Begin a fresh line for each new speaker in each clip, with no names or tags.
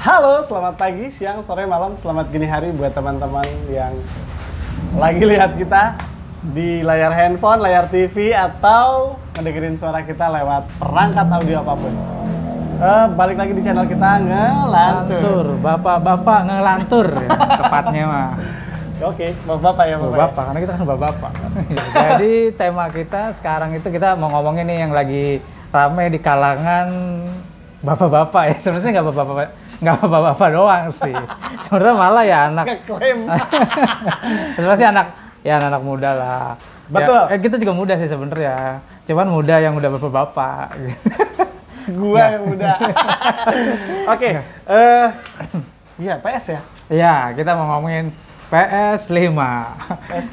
Halo, selamat pagi, siang, sore, malam, selamat gini hari buat teman-teman yang lagi lihat kita di layar handphone, layar TV, atau mendengerin suara kita lewat perangkat audio apapun. Eh, balik lagi di channel kita ngelantur.
Lantur, bapak-bapak ngelantur ya, tepatnya mah.
Oke, bapak-bapak ya bapak.
Bapak, karena kita kan bapak-bapak. Jadi tema kita sekarang itu kita mau ngomongin nih yang lagi rame di kalangan bapak-bapak ya. Sebenarnya nggak bapak-bapak, nggak bapak-bapak doang sih. Sebenarnya malah ya anak,
Ngeklaim.
sebenarnya sih anak, ya anak muda lah. Ya,
Betul.
eh, kita juga muda sih sebenarnya. Cuman muda yang udah bapak-bapak.
Gua yang udah. Oke, eh iya PS ya,
ya, kita mau ngomongin PS5.
PS5. PS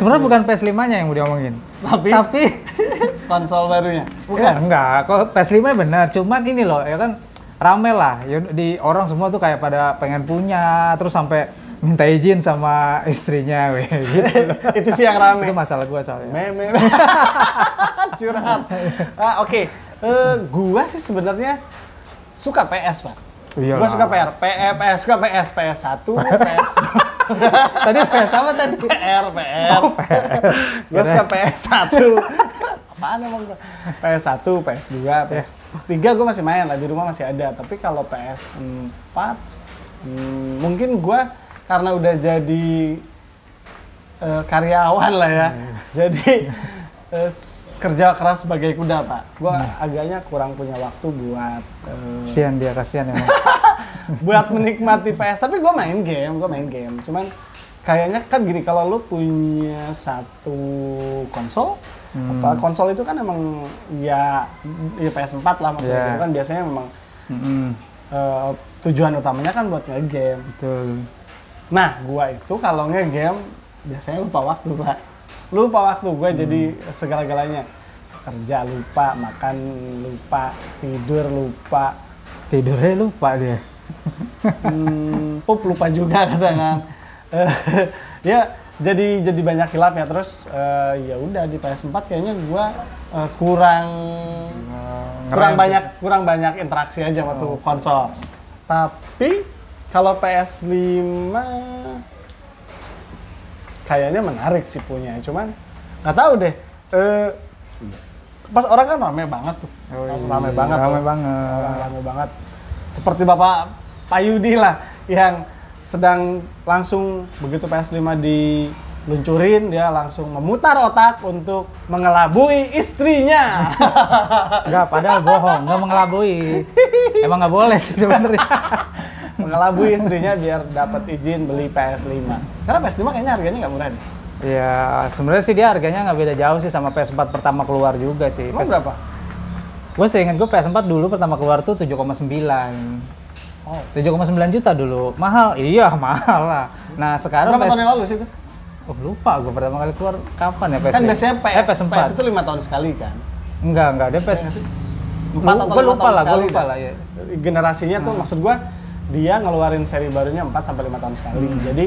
Sebenarnya bukan PS5-nya yang mau diomongin.
Tapi-
tapi
konsol barunya.
bukan enggak. Kalau PS5 benar, cuman ini loh ya kan rame lah. Ya, Di orang semua tuh kayak pada pengen punya, terus sampai minta izin sama istrinya weh gitu. loh.
Itu sih yang rame.
Itu masalah gua soalnya.
Meme. Curhat. Ah, oke. Eh, gua sih sebenarnya suka PS, Pak.
Iyalah.
Gua suka PR, PR, PS, eh, suka PS, PS1, PS2,
tadi PS apa tadi?
PR, PR. Oh, Gua suka PS1. Apaan emang gua? PS1, PS2, PS3 gua masih main lah, di rumah masih ada. Tapi kalau PS4 hmm, mungkin gua karena udah jadi eh, karyawan lah ya. Jadi eh, s- kerja keras sebagai kuda pak. Gue agaknya kurang punya waktu buat eh,
Kasihan dia, kasihan emang.
buat menikmati PS. Tapi gue main game, gue main game. Cuman kayaknya kan gini kalau lu punya satu konsol apa konsol itu kan emang ya, ya PS4 lah maksudnya
Yeah.
kan biasanya memang
Mm-mm,
eh, tujuan utamanya kan buat nge-game.
betul.
Nah, gua itu kalau nge-game biasanya lupa waktu, Pak. Lupa waktu gua jadi segala-galanya. Kerja lupa, makan lupa, tidur lupa,
Tidurnya lupa dia.
hmm, pup lupa juga kadang Eh, ya jadi jadi banyak hilap ya terus eh, ya udah di PS4 kayaknya gua eh, kurang kurang
ngerem. ya? Oh.
banyak kurang banyak interaksi aja waktu konsol. Tapi kalau PS5 kayaknya menarik sih punya, cuman nggak tahu deh. eh, pas orang kan rame banget tuh,
Oh, iya.
rame banget,
Rame
tuh.
banget.
Orang rame banget. Seperti Bapak Payudi lah yang sedang langsung begitu PS5 diluncurin dia langsung memutar otak untuk mengelabui istrinya.
Enggak, padahal bohong, enggak mengelabui. Emang nggak boleh sih sebenarnya.
mengelabui istrinya biar dapat izin beli PS5. Karena PS5 kayaknya harganya nggak murah deh.
Ya, sebenarnya sih dia harganya nggak beda jauh sih sama PS4 pertama keluar juga sih.
Emang berapa?
Gue seingat gue PS4 dulu pertama keluar tuh 7,9.
Oh.
7,9 juta dulu. Mahal. Iya, mahal lah. Nah, sekarang
Berapa
PS...
tahun yang lalu sih itu?
Oh, lupa gue pertama kali keluar kapan ya PS5?
Kan biasanya PS,
eh,
PS,
PS4.
itu lima tahun sekali kan.
Enggak, enggak. Dia PS...
Empat
Lu-
atau
gua
lima
lupa
tahun
lah, gue
sekali kan?
lupa
dah.
lah ya.
Generasinya tuh maksud gua dia ngeluarin seri barunya 4 sampai 5 tahun sekali.
Hmm.
Jadi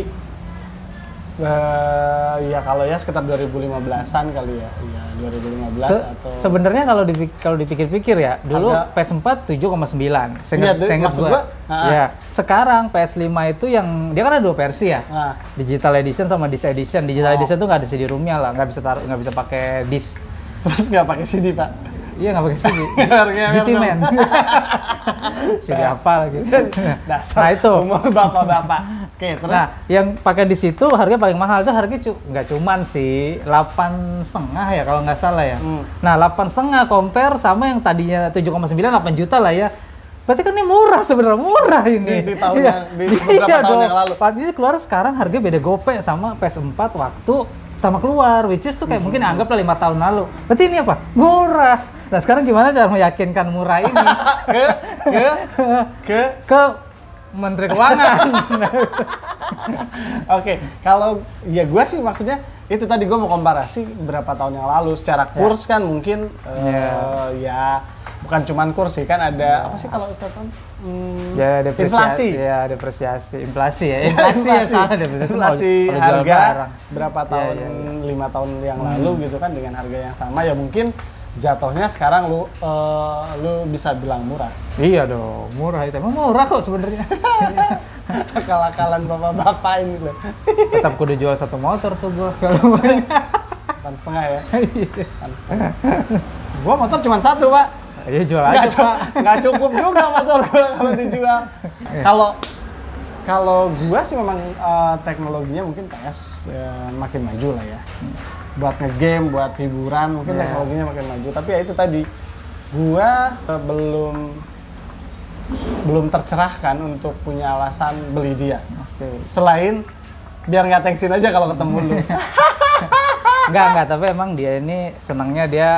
eh, ya kalau ya sekitar 2015-an kali ya. Iya, 2015
Se-
atau
Sebenarnya kalau dipik- kalau dipikir-pikir ya, dulu
Harga-
PS4 7,9.
Iya,
Seingat
tuh,
seingat
maksud
gua.
gua, ah.
Ya, sekarang PS5 itu yang dia kan ada dua versi ya.
Nah,
digital edition sama disc edition. Digital
Oh.
edition tuh nggak ada CD roomnya lah, nggak bisa taruh, nggak bisa pakai disc.
terus nggak pakai CD, Pak.
Iya nggak pakai CD.
Harganya
GT
memang.
man. CD apa gitu.
Dasar
Nah itu.
umur bapak-bapak. Oke, terus
Nah, yang pakai di situ harga paling mahal tuh harga cu- nggak cuman sih delapan setengah ya kalau nggak salah ya.
Hmm.
Nah delapan setengah compare sama yang tadinya 7,9 8 juta lah ya. Berarti kan ini murah sebenarnya murah ini.
Di- di tahun
Iya.
yang- di beberapa
Iya
tahun
dong.
yang lalu.
Padahal keluar sekarang harga beda gope sama PS4 waktu pertama keluar, which is tuh
Hmm.
kayak mungkin anggaplah lima tahun lalu. Berarti ini apa? Murah. Nah sekarang gimana cara meyakinkan murah ini
ke ke ke
ke Menteri Keuangan?
Oke, kalau ya gue sih maksudnya itu tadi gue mau komparasi berapa tahun yang lalu secara
Ya.
kurs kan mungkin eh, ya bukan cuman kurs sih kan ada apa sih kalau Ustaz Tom? Hmm,
Ya
inflasi.
depresiasi. Ya depresiasi, inflasi ya.
Inflasi,
Inflasi ya salah depresiasi.
inflasi
Kalau- kalau jual
harga
barang.
berapa
Iya,
tahun
iya,
lima tahun yang lalu gitu kan dengan harga yang sama ya mungkin jatuhnya sekarang lu eh, lu bisa bilang murah
Iya dong, murah itu. Emang murah kok sebenarnya.
akal-akalan bapak-bapak ini loh
Tetap kudu jual satu motor tuh gua kalau mau.
Kan setengah ya Kan setengah. gua motor cuma satu pak
Iya jual
nggak
aja,
cu-
Pak.
nggak cukup juga motor gua kalau dijual
Eh.
kalau kalau gua sih memang eh, teknologinya mungkin PS eh, makin maju lah ya buat ngegame buat hiburan mungkin
Iya.
teknologinya makin maju tapi ya itu tadi gua eh, belum belum tercerahkan untuk punya alasan beli dia selain biar nggak tensin aja kalau ketemu lu
Enggak, enggak, tapi emang dia ini senangnya dia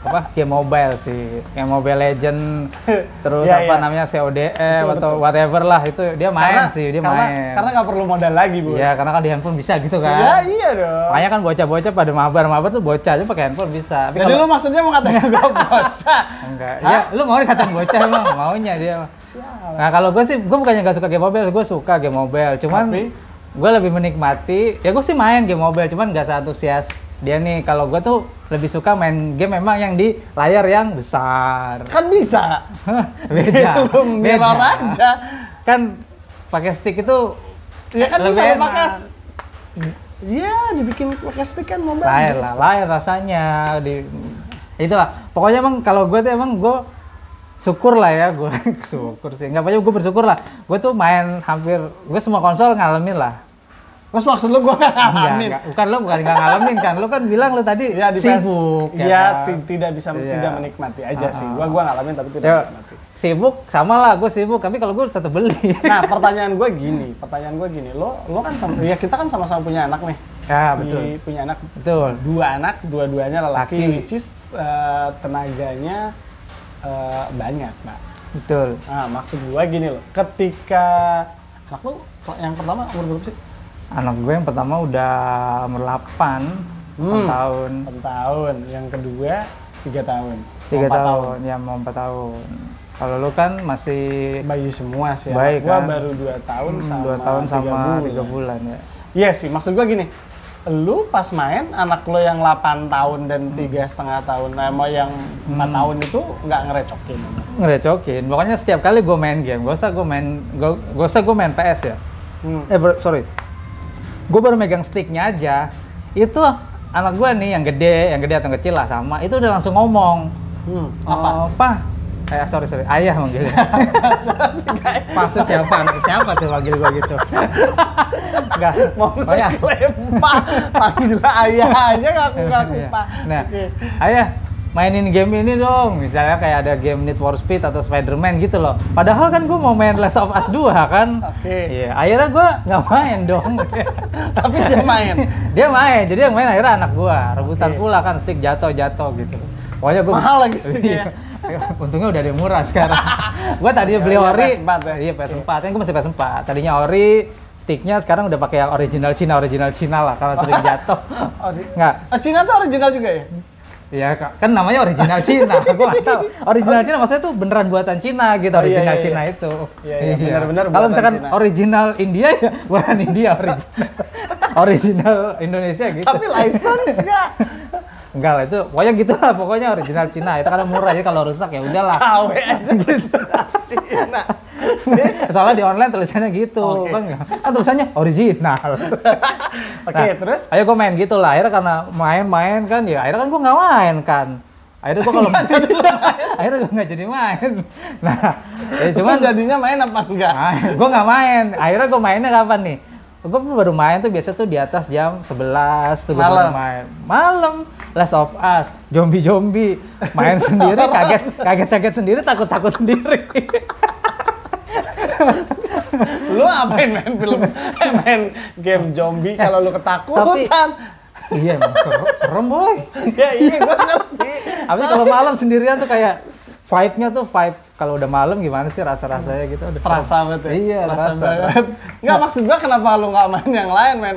apa game mobile sih game mobile legend terus
Iya,
apa
iya.
namanya CODM
Betul,
E atau
betul.
whatever lah itu dia main sih dia
karena,
main
karena nggak perlu modal lagi bos
Iya, karena kan di handphone bisa gitu
ya
kan
iya dong
makanya kan bocah-bocah pada mabar-mabar tuh bocah aja pakai handphone bisa tapi
Jadi
kalau
lu maksudnya mau ngatain gua bocah?
enggak
Hah?
ya lu mau dikatain bocah emang maunya dia nah kalau gue sih gue bukannya gak suka game mobile gue suka game mobile cuman
Tapi?
gue lebih menikmati ya gue sih main game mobile cuman gak seantusias dia nih kalau gue tuh lebih suka main game memang yang di layar yang besar
Kan bisa.
beda
Iya, lu mirror
beda.
aja.
kan pakai stick itu
Ya kan
Lebih
bisa lu
enak.
pakai Iya, dibikin pakai stick kan mobile.
lahir lah lahir rasanya di itulah pokoknya emang kalau gue tuh emang gue syukur lah ya gue syukur sih nggak apa gue bersyukur lah gue tuh main hampir gue semua konsol ngalamin lah
Terus maksud lu gua nggak
Nggak,
ngalamin.
nggak. bukan lo bukan nggak ngalamin kan lo kan bilang lo tadi
Ya di PS
sibuk ya
Iya, Ah,
kan?
ti- tidak bisa
Iya.
tidak menikmati aja sih. Gua gua ngalamin tapi tidak
Ya,
menikmati.
sibuk sama lah gue sibuk tapi kalau gue tetap beli
Nah, pertanyaan gue gini, pertanyaan gue gini, lo lo kan sama, ya kita kan sama-sama punya anak nih,
ya betul
Di- punya anak
betul
dua anak, dua-duanya lelaki,
Laki.
which is eh, tenaganya eh, banyak, Pak.
betul
Nah, maksud gua gini loh, ketika anak lu yang pertama umur berapa sih?
anak gue yang pertama udah merlapan
Hmm.
tahun
6 tahun, yang kedua 3 tahun.
tiga
Empat
tahun, ya mau empat tahun kalau lu kan masih
Bayi semua sih.
Bayi
anak gua
kan?
baru 2 tahun sama
dua tahun
tiga
sama tiga bulan ya
Iya sih, maksud gua gini. Lu pas main anak lo yang 8 tahun dan tiga setengah tahun, sama yang 4
Hmm.
tahun itu nggak ngerecokin.
ngerecokin pokoknya setiap kali gue main game gak usah gue main gak, gak usah gue main PS ya
Hmm.
eh ber- sorry gue baru megang sticknya aja itu anak gue nih yang gede yang gede atau kecil lah sama itu udah langsung ngomong
Hmm.
apa apa eh sorry sorry ayah manggilnya Pak itu siapa anak siapa tuh manggil gue gitu enggak
Mau
pokoknya
lempar, panggil ayah aja ngaku ngaku
Iya.
pak.
Nah,
Oke.
ayah mainin game ini dong. Misalnya kayak ada game Need for Speed atau Spider-Man gitu loh. Padahal kan gue mau main Last of Us 2 kan.
Oke.
Iya, akhirnya gue nggak main dong.
Tapi dia main.
Dia main, jadi yang main akhirnya anak gue. Rebutan
Oke.
pula kan stick jatuh-jatuh gitu. Pokoknya gue
Mahal lagi sticknya.
Untungnya udah ada yang murah sekarang. gue tadinya
Ya,
beli
iya,
ori.
PS4 ya.
Iya PS4, kan gue masih PS4. Tadinya ori, sticknya sekarang udah pakai yang original Cina, original Cina lah karena sering jatuh.
Ori-
Nggak,
Oh, Cina tuh original juga ya?
Ya Kak. kan namanya original Cina, gua nggak tahu. Original Cina maksudnya tuh beneran buatan Cina gitu,
Oh, iya,
original
iya,
Cina
iya.
itu.
Iya, iya, benar-benar
Kalau
buatan
misalkan
Cina.
original India ya buatan India original. original Indonesia gitu.
Tapi license nggak?
Enggak lah itu, pokoknya gitu lah, pokoknya original Cina. Itu karena murah, jadi kalau rusak ya udahlah.
KW aja
Gitu.
original Cina.
Soalnya di online tulisannya
Oke.
gitu, kan, kan tulisannya original.
Oke,
Nah,
terus?
Ayo gue main gitu lah, akhirnya karena main-main kan, ya akhirnya kan gue nggak main kan. Akhirnya gue kalau akhirnya gue nggak jadi main. Nah, ya
Cuman
cuman Ah.
jadinya main apa enggak?
gue nggak main. Akhirnya gue mainnya kapan nih? Gue baru main tuh biasa tuh di atas jam 11 tuh gue
Malam.
baru main. Malam, Last of Us, zombie-zombie, main sendiri, kaget, kaget-kaget sendiri, takut-takut sendiri.
Lu apain main film? Eh, main game zombie kalau lu
Tapi-
ketakutan.
iya, emang serem, serem boy.
ya iya gua ngerti.
Tapi kalau malam sendirian tuh kayak vibe-nya tuh vibe kalau udah malam gimana sih rasa-rasanya gitu? Udah
Terasa banget ya?
Iya,
terasa
terasa.
banget. Enggak maksud gua kenapa lu nggak main yang lain, men?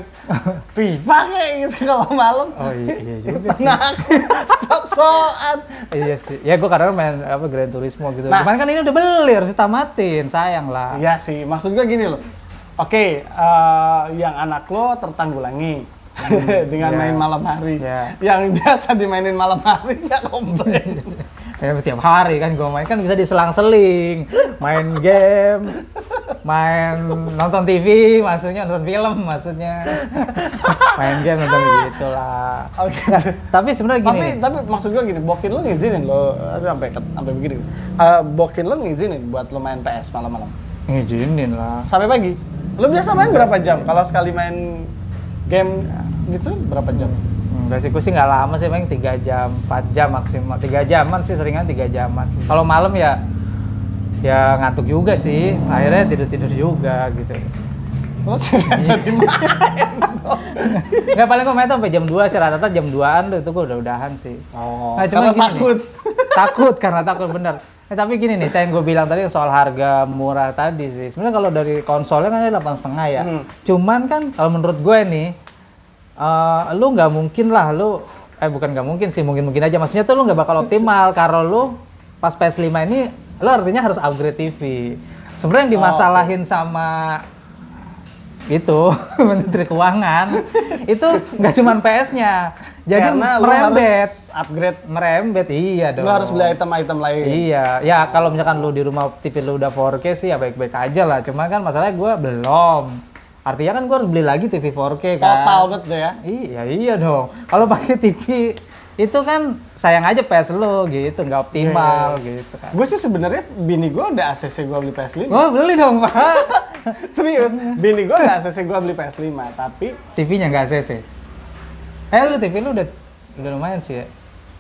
FIFA kayak gitu kalau malam.
Oh iya, iya juga sih.
Penakut, sok-sokan.
Iya sih. Ya gue kadang main apa Grand Turismo gitu.
Nah.
Cuman kan ini udah beli harus ditamatin, sayang lah.
Iya sih, maksud gue gini loh. Oke, eh, yang anak lo tertanggulangi. dengan
ya.
main malam hari.
Ya.
Yang biasa dimainin malam hari nggak komplain.
Ya, tiap hari kan gue main kan bisa diselang-seling, main game, main nonton TV, maksudnya nonton film maksudnya, main game nonton gitu lah.
Oke.
Tapi sebenarnya
Tapi
gini,
tapi maksud gua gini, Bokin lo ngizinin lo aduh, sampai ke- sampai begini. Eh, Bokin lo ngizinin buat lo main PS malam-malam.
ngizinin lah.
Sampai pagi. Lo biasa main berapa jam? Kalau sekali main game gitu berapa jam?
Enggak Hmm, sih, gue sih nggak lama sih, paling 3 jam, 4 jam maksimal. 3 jaman sih, seringan 3 jaman. Kalau malam ya ya ngantuk juga sih, akhirnya tidur-tidur juga gitu.
Lo sudah jadi main.
Nggak paling gue main tuh sampai jam 2 sih, rata-rata jam 2-an tuh, itu gue udah-udahan sih.
Oh,
Nah,
karena
cuman gini
takut.
nih. takut karena takut bener. Eh, tapi gini nih, yang gue bilang tadi soal harga murah tadi sih. Sebenarnya kalau dari konsolnya kan delapan setengah ya.
Hmm.
Cuman kan kalau menurut gue nih, eh, lu nggak mungkin lah lu, eh bukan nggak mungkin sih, mungkin mungkin aja. Maksudnya tuh lu nggak bakal optimal kalau lu pas PS5 ini, lu artinya harus upgrade TV.
Oh,
Sebenarnya yang dimasalahin sama itu menteri keuangan itu nggak cuman PS-nya jadi
Karena lo
merembet
harus upgrade.
merembet iya dong
Lo harus beli item-item lain.
iya ya kalau misalkan lu di rumah TV lu udah 4K sih ya baik-baik aja lah cuman kan masalahnya gue belum artinya kan gue harus beli lagi TV 4K kan
Total gitu ya.
iya iya dong kalau pakai TV itu kan sayang aja PS lu gitu nggak
Iya,
optimal gitu kan
Gue sih sebenarnya bini gue udah ACC gue beli PS5.
Oh beli dong pak Oh.
Serius,
Iya.
bini gue udah ACC gue beli PS5, tapi
TV-nya nggak ACC eh lu TV lu udah udah lumayan sih ya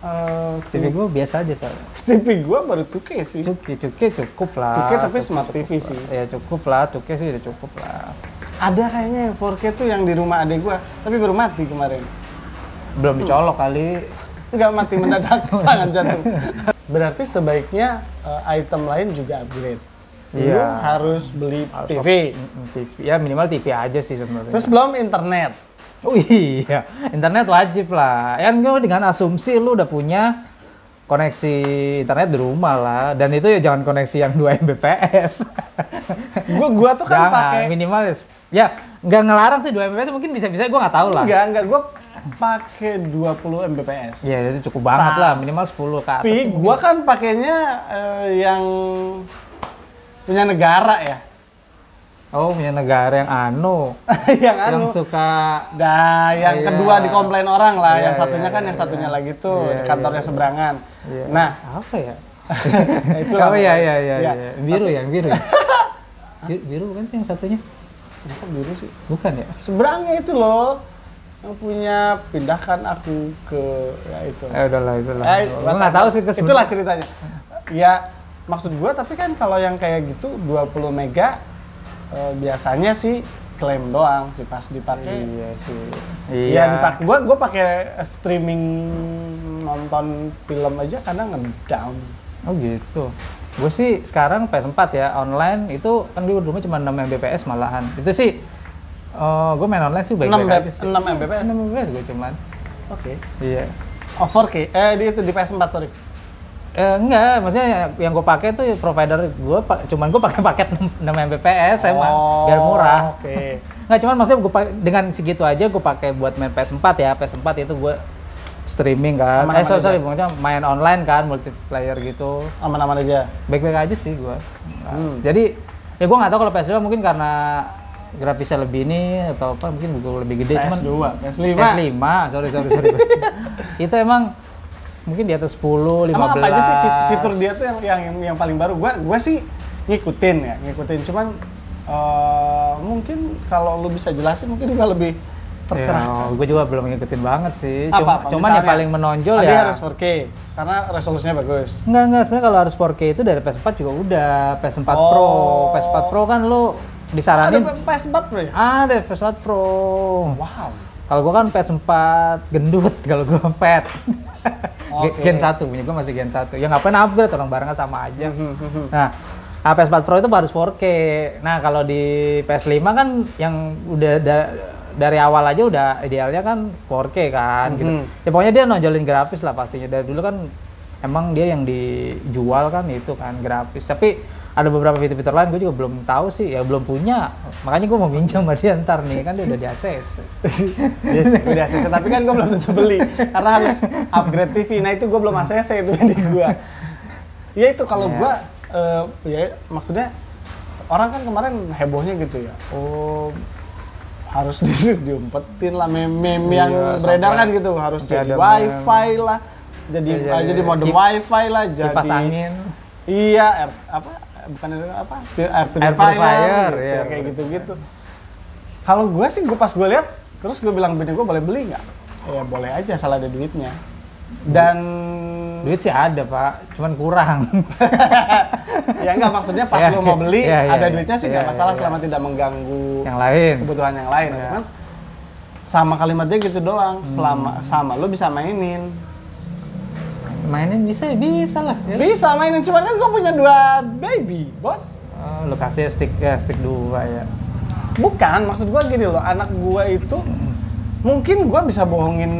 eh,
TV gue biasa aja soalnya
TV gue baru 2K sih.
cukup cukup cukup lah
2K tapi smart TV sih.
ya cukup lah cukup sih udah cukup lah
Ada kayaknya yang 4K tuh yang di rumah adek gue, tapi baru mati kemarin.
belum dicolok
Hmm.
kali
Nggak mati mendadak, sangat jatuh. Berarti sebaiknya eh, item lain juga upgrade. Lu
Iya.
harus beli TV.
Mm, TV ya minimal TV aja sih sebenarnya
Terus belum internet.
oh iya internet wajib lah ya gue dengan asumsi lu udah punya koneksi internet di rumah lah dan itu ya jangan koneksi yang 2 Mbps
Gue gua tuh kan
jangan
pakai
minimal ya s- ya nggak ngelarang sih 2 Mbps mungkin bisa-bisa gue nggak tahu lah
enggak enggak gue pakai 20 Mbps.
ya itu cukup banget lah minimal 10 ke atas
Tapi gua kan pakainya eh, yang punya negara ya.
oh punya negara yang anu
yang
yang
anu.
suka
Nah, yang
Iya.
kedua dikomplain orang lah.
Iya,
yang satunya
iya,
kan
iya,
yang satunya
iya.
lagi tuh
Iya,
di kantornya seberangan.
Iya.
Nah,
apa ya?
itu
oh ya ya ya, ya. biru yang biru. ya? biru, biru bukan sih yang satunya?
Kok biru sih?
Bukan ya?
Seberangnya itu loh yang punya pindahkan aku ke ya itu.
Eh udahlah itulah.
Eh,
Gua
buat
nggak
apa?
tahu sih gue
Itulah ceritanya. Ya, maksud gua tapi kan kalau yang kayak gitu 20 mega eh, biasanya sih klaim doang sih pas dipakai.
Iya sih.
Iya,
Iya.
dipak gua gua pakai streaming nonton film aja kadang ngedown.
oh gitu. Gue sih sekarang PS4 ya online itu kan dulu rumah cuma 6 Mbps malahan. Itu sih eh gue main online sih
6
baik-baik aja
Mbps.
sih.
6 Mbps.
6 Mbps gue cuman.
Oke.
Iya.
Oh, 4K. Eh, di itu di PS4, sorry.
Eh, enggak, maksudnya yang- yang gue pakai tuh provider gue, cuman gue pakai paket 6 Mbps emang
Oh,
biar murah.
Oke.
Nggak, cuman maksudnya gue dengan segitu aja gue pakai buat main PS4 ya. PS4 itu gue streaming kan.
Aman-aman
eh, sorry,
aja.
sorry, maksudnya main online kan, multiplayer gitu.
Aman-aman aja.
Baik-baik aja sih gue.
Hmm.
Jadi, ya gue nggak tahu kalau PS2 mungkin karena grafisnya lebih ini atau apa, mungkin gue lebih gede.
PS2,
cuman
PS5.
PS5, sorry, sorry, sorry. itu emang mungkin di atas 10, 15.
Emang apa aja sih fit- fitur dia tuh yang yang yang paling baru? Gua gua sih ngikutin ya, ngikutin. Cuman eh, mungkin kalau lu bisa jelasin mungkin gua lebih tercerah.
gue Ya, juga belum ngikutin banget sih. Iya, Cuma-
Apa-apa,
cuman yang
misalnya,
paling menonjol
tadi
ya.
harus 4K karena resolusinya bagus.
Enggak, enggak. Sebenarnya kalau harus 4K itu dari PS4 juga udah. PS4 Pro.
Oh.
PS4 Pro kan lu
Ada
disaranin.
PS4 Pro ya?
Ada, PS4 Pro.
Wow.
Kalau gua kan PS4 gendut, kalau gua fat.
Oke.
Gen 1, punya gua masih Gen 1. Ya ngapain upgrade, orang barangnya sama aja. Nah, nah, PS4 Pro itu harus 4K. Nah, kalau di PS5 kan yang udah da- dari awal aja udah idealnya kan 4K kan gitu.
Mhm.
Ya pokoknya dia nonjolin grafis lah pastinya. Dari dulu kan emang dia yang dijual kan itu kan grafis. Tapi ada beberapa fitur-fitur lain gue juga belum tahu sih ya belum punya makanya gue mau minjem sama dia ntar nih kan dia udah di ACC
Yes, Iya udah ACC tapi kan gue belum tentu beli karena harus upgrade TV. Nah itu gue belum ACC itu di gue. Ya itu kalau
Ya.
gue eh, ya maksudnya orang kan kemarin hebohnya gitu ya. Oh harus di diumpetin lah meme-meme yang
Iya,
beredar
sampai-
kan gitu harus
sampai
jadi
ada
wifi lah jadi
Iya,
ah,
iya,
jadi
iya.
modem
Kip-
wifi lah jadi
kipas angin
iya air, apa bukan air apa air
Air
purifier,
purifier,
gitu,
iya,
kayak gitu gitu kalau gue sih gue pas gue lihat terus gue bilang bini gue boleh beli nggak ya boleh aja salah ada duitnya dan
duit sih ada pak cuman kurang
ya nggak maksudnya pas
Iya,
lo mau beli
iya, iya,
ada
iya.
duitnya sih nggak
Iya,
masalah
iya.
selama tidak mengganggu
yang lain
kebutuhan yang lain
Iya.
kan sama kalimatnya gitu doang selama sama lo bisa mainin
mainin bisa bisa lah ya.
bisa mainin cuman kan gue punya dua baby bos
Oh, lu kasih stick ya, stick dua ya
Bukan, maksud gua gini loh, anak gua itu mungkin gua bisa bohongin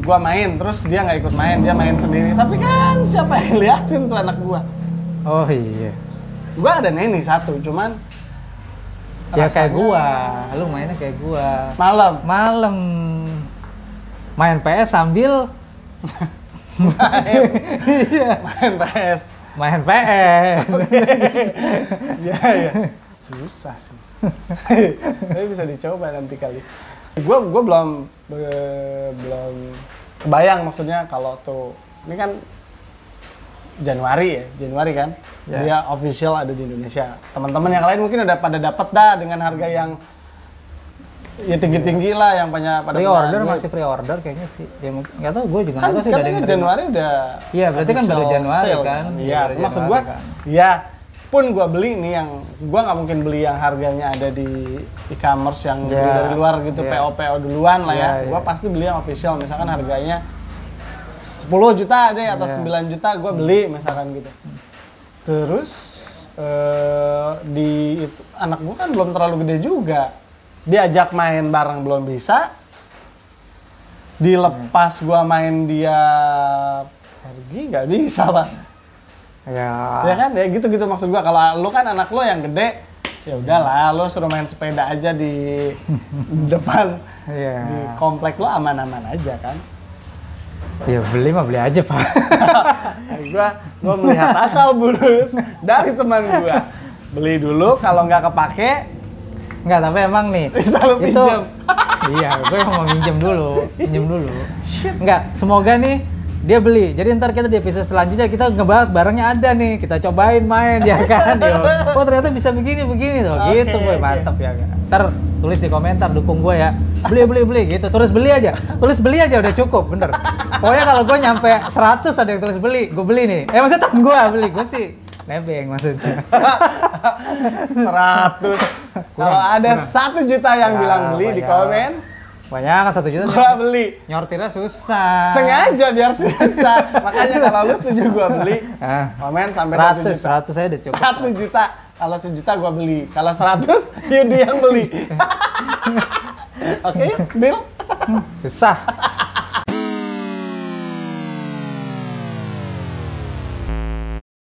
gua main, terus dia nggak ikut main, dia main sendiri. Tapi kan siapa yang liatin tuh anak gua?
oh iya
Gua ada neni satu, cuman
ya
rasanya
kayak gua lu mainnya kayak gua
Malam.
malam main PS sambil iya
Main PS.
main PS
Iya, iya. Susah sih. Tapi bisa dicoba nanti kali. Gua gua belum be- belum kebayang maksudnya kalau tuh ini kan Januari ya, Januari kan.
Ya.
Dia official ada di Indonesia. Teman-teman yang lain mungkin udah pada dapat dah dengan harga yang ya tinggi-tinggi lah yang punya pada
pre-order
punya duit.
masih pre-order kayaknya sih ya mungkin nggak tahu gue juga
kan
nggak tahu sih udah ada
katanya
yang nerima.
Januari udah
Iya, berarti kan baru
official
Januari
sale
kan? Iya,
iya
baru
maksud gua
Januari kan.
ya pun gua beli nih yang gua nggak mungkin beli yang harganya ada di e-commerce yang beli
Iya,
dari luar gitu
iya.
PO PO duluan lah ya
Iya,
gua
iya.
pasti beli yang official misalkan harganya 10 juta deh atau
Iya.
9 juta gua beli misalkan gitu terus eh, di itu anak gua kan belum terlalu gede juga diajak main bareng belum bisa dilepas gua main dia pergi nggak bisa pak
ya
ya kan ya gitu gitu maksud gua kalau lu kan anak lo yang gede ya udahlah lo suruh main sepeda aja di depan
Iya.
di komplek lo aman-aman aja kan
ya beli mah beli aja pak
Nah, gua gua melihat akal bulus dari teman gua beli dulu kalau nggak kepake
nggak tapi emang nih
Bisa lu
itu-
pinjam.
iya gue emang mau minjem dulu minjem dulu nggak semoga nih dia beli jadi ntar kita di episode selanjutnya kita ngebahas barangnya ada nih kita cobain main ya kan yo oh ternyata bisa begini begini tuh
Oke,
gitu gue
oke.
mantep ya kan? ntar tulis di komentar dukung gue ya beli beli beli gitu terus beli aja tulis beli aja udah cukup bener pokoknya kalau gue nyampe 100 ada yang tulis beli gue beli nih eh maksudnya temen gue beli gue sih nebeng maksudnya
100 kalau
Kurang,
ada
kurang.
satu juta yang
Ya,
bilang beli di
banyak.
komen
banyak kan satu juta
gua beli
nyortirnya susah
sengaja biar susah makanya kalau lu setuju gua beli
Ah.
komen sampai satu
ratus
juta
ratus saya udah cukup
satu juta kalau sejuta gua beli kalau seratus Yudi yang beli oke deal
susah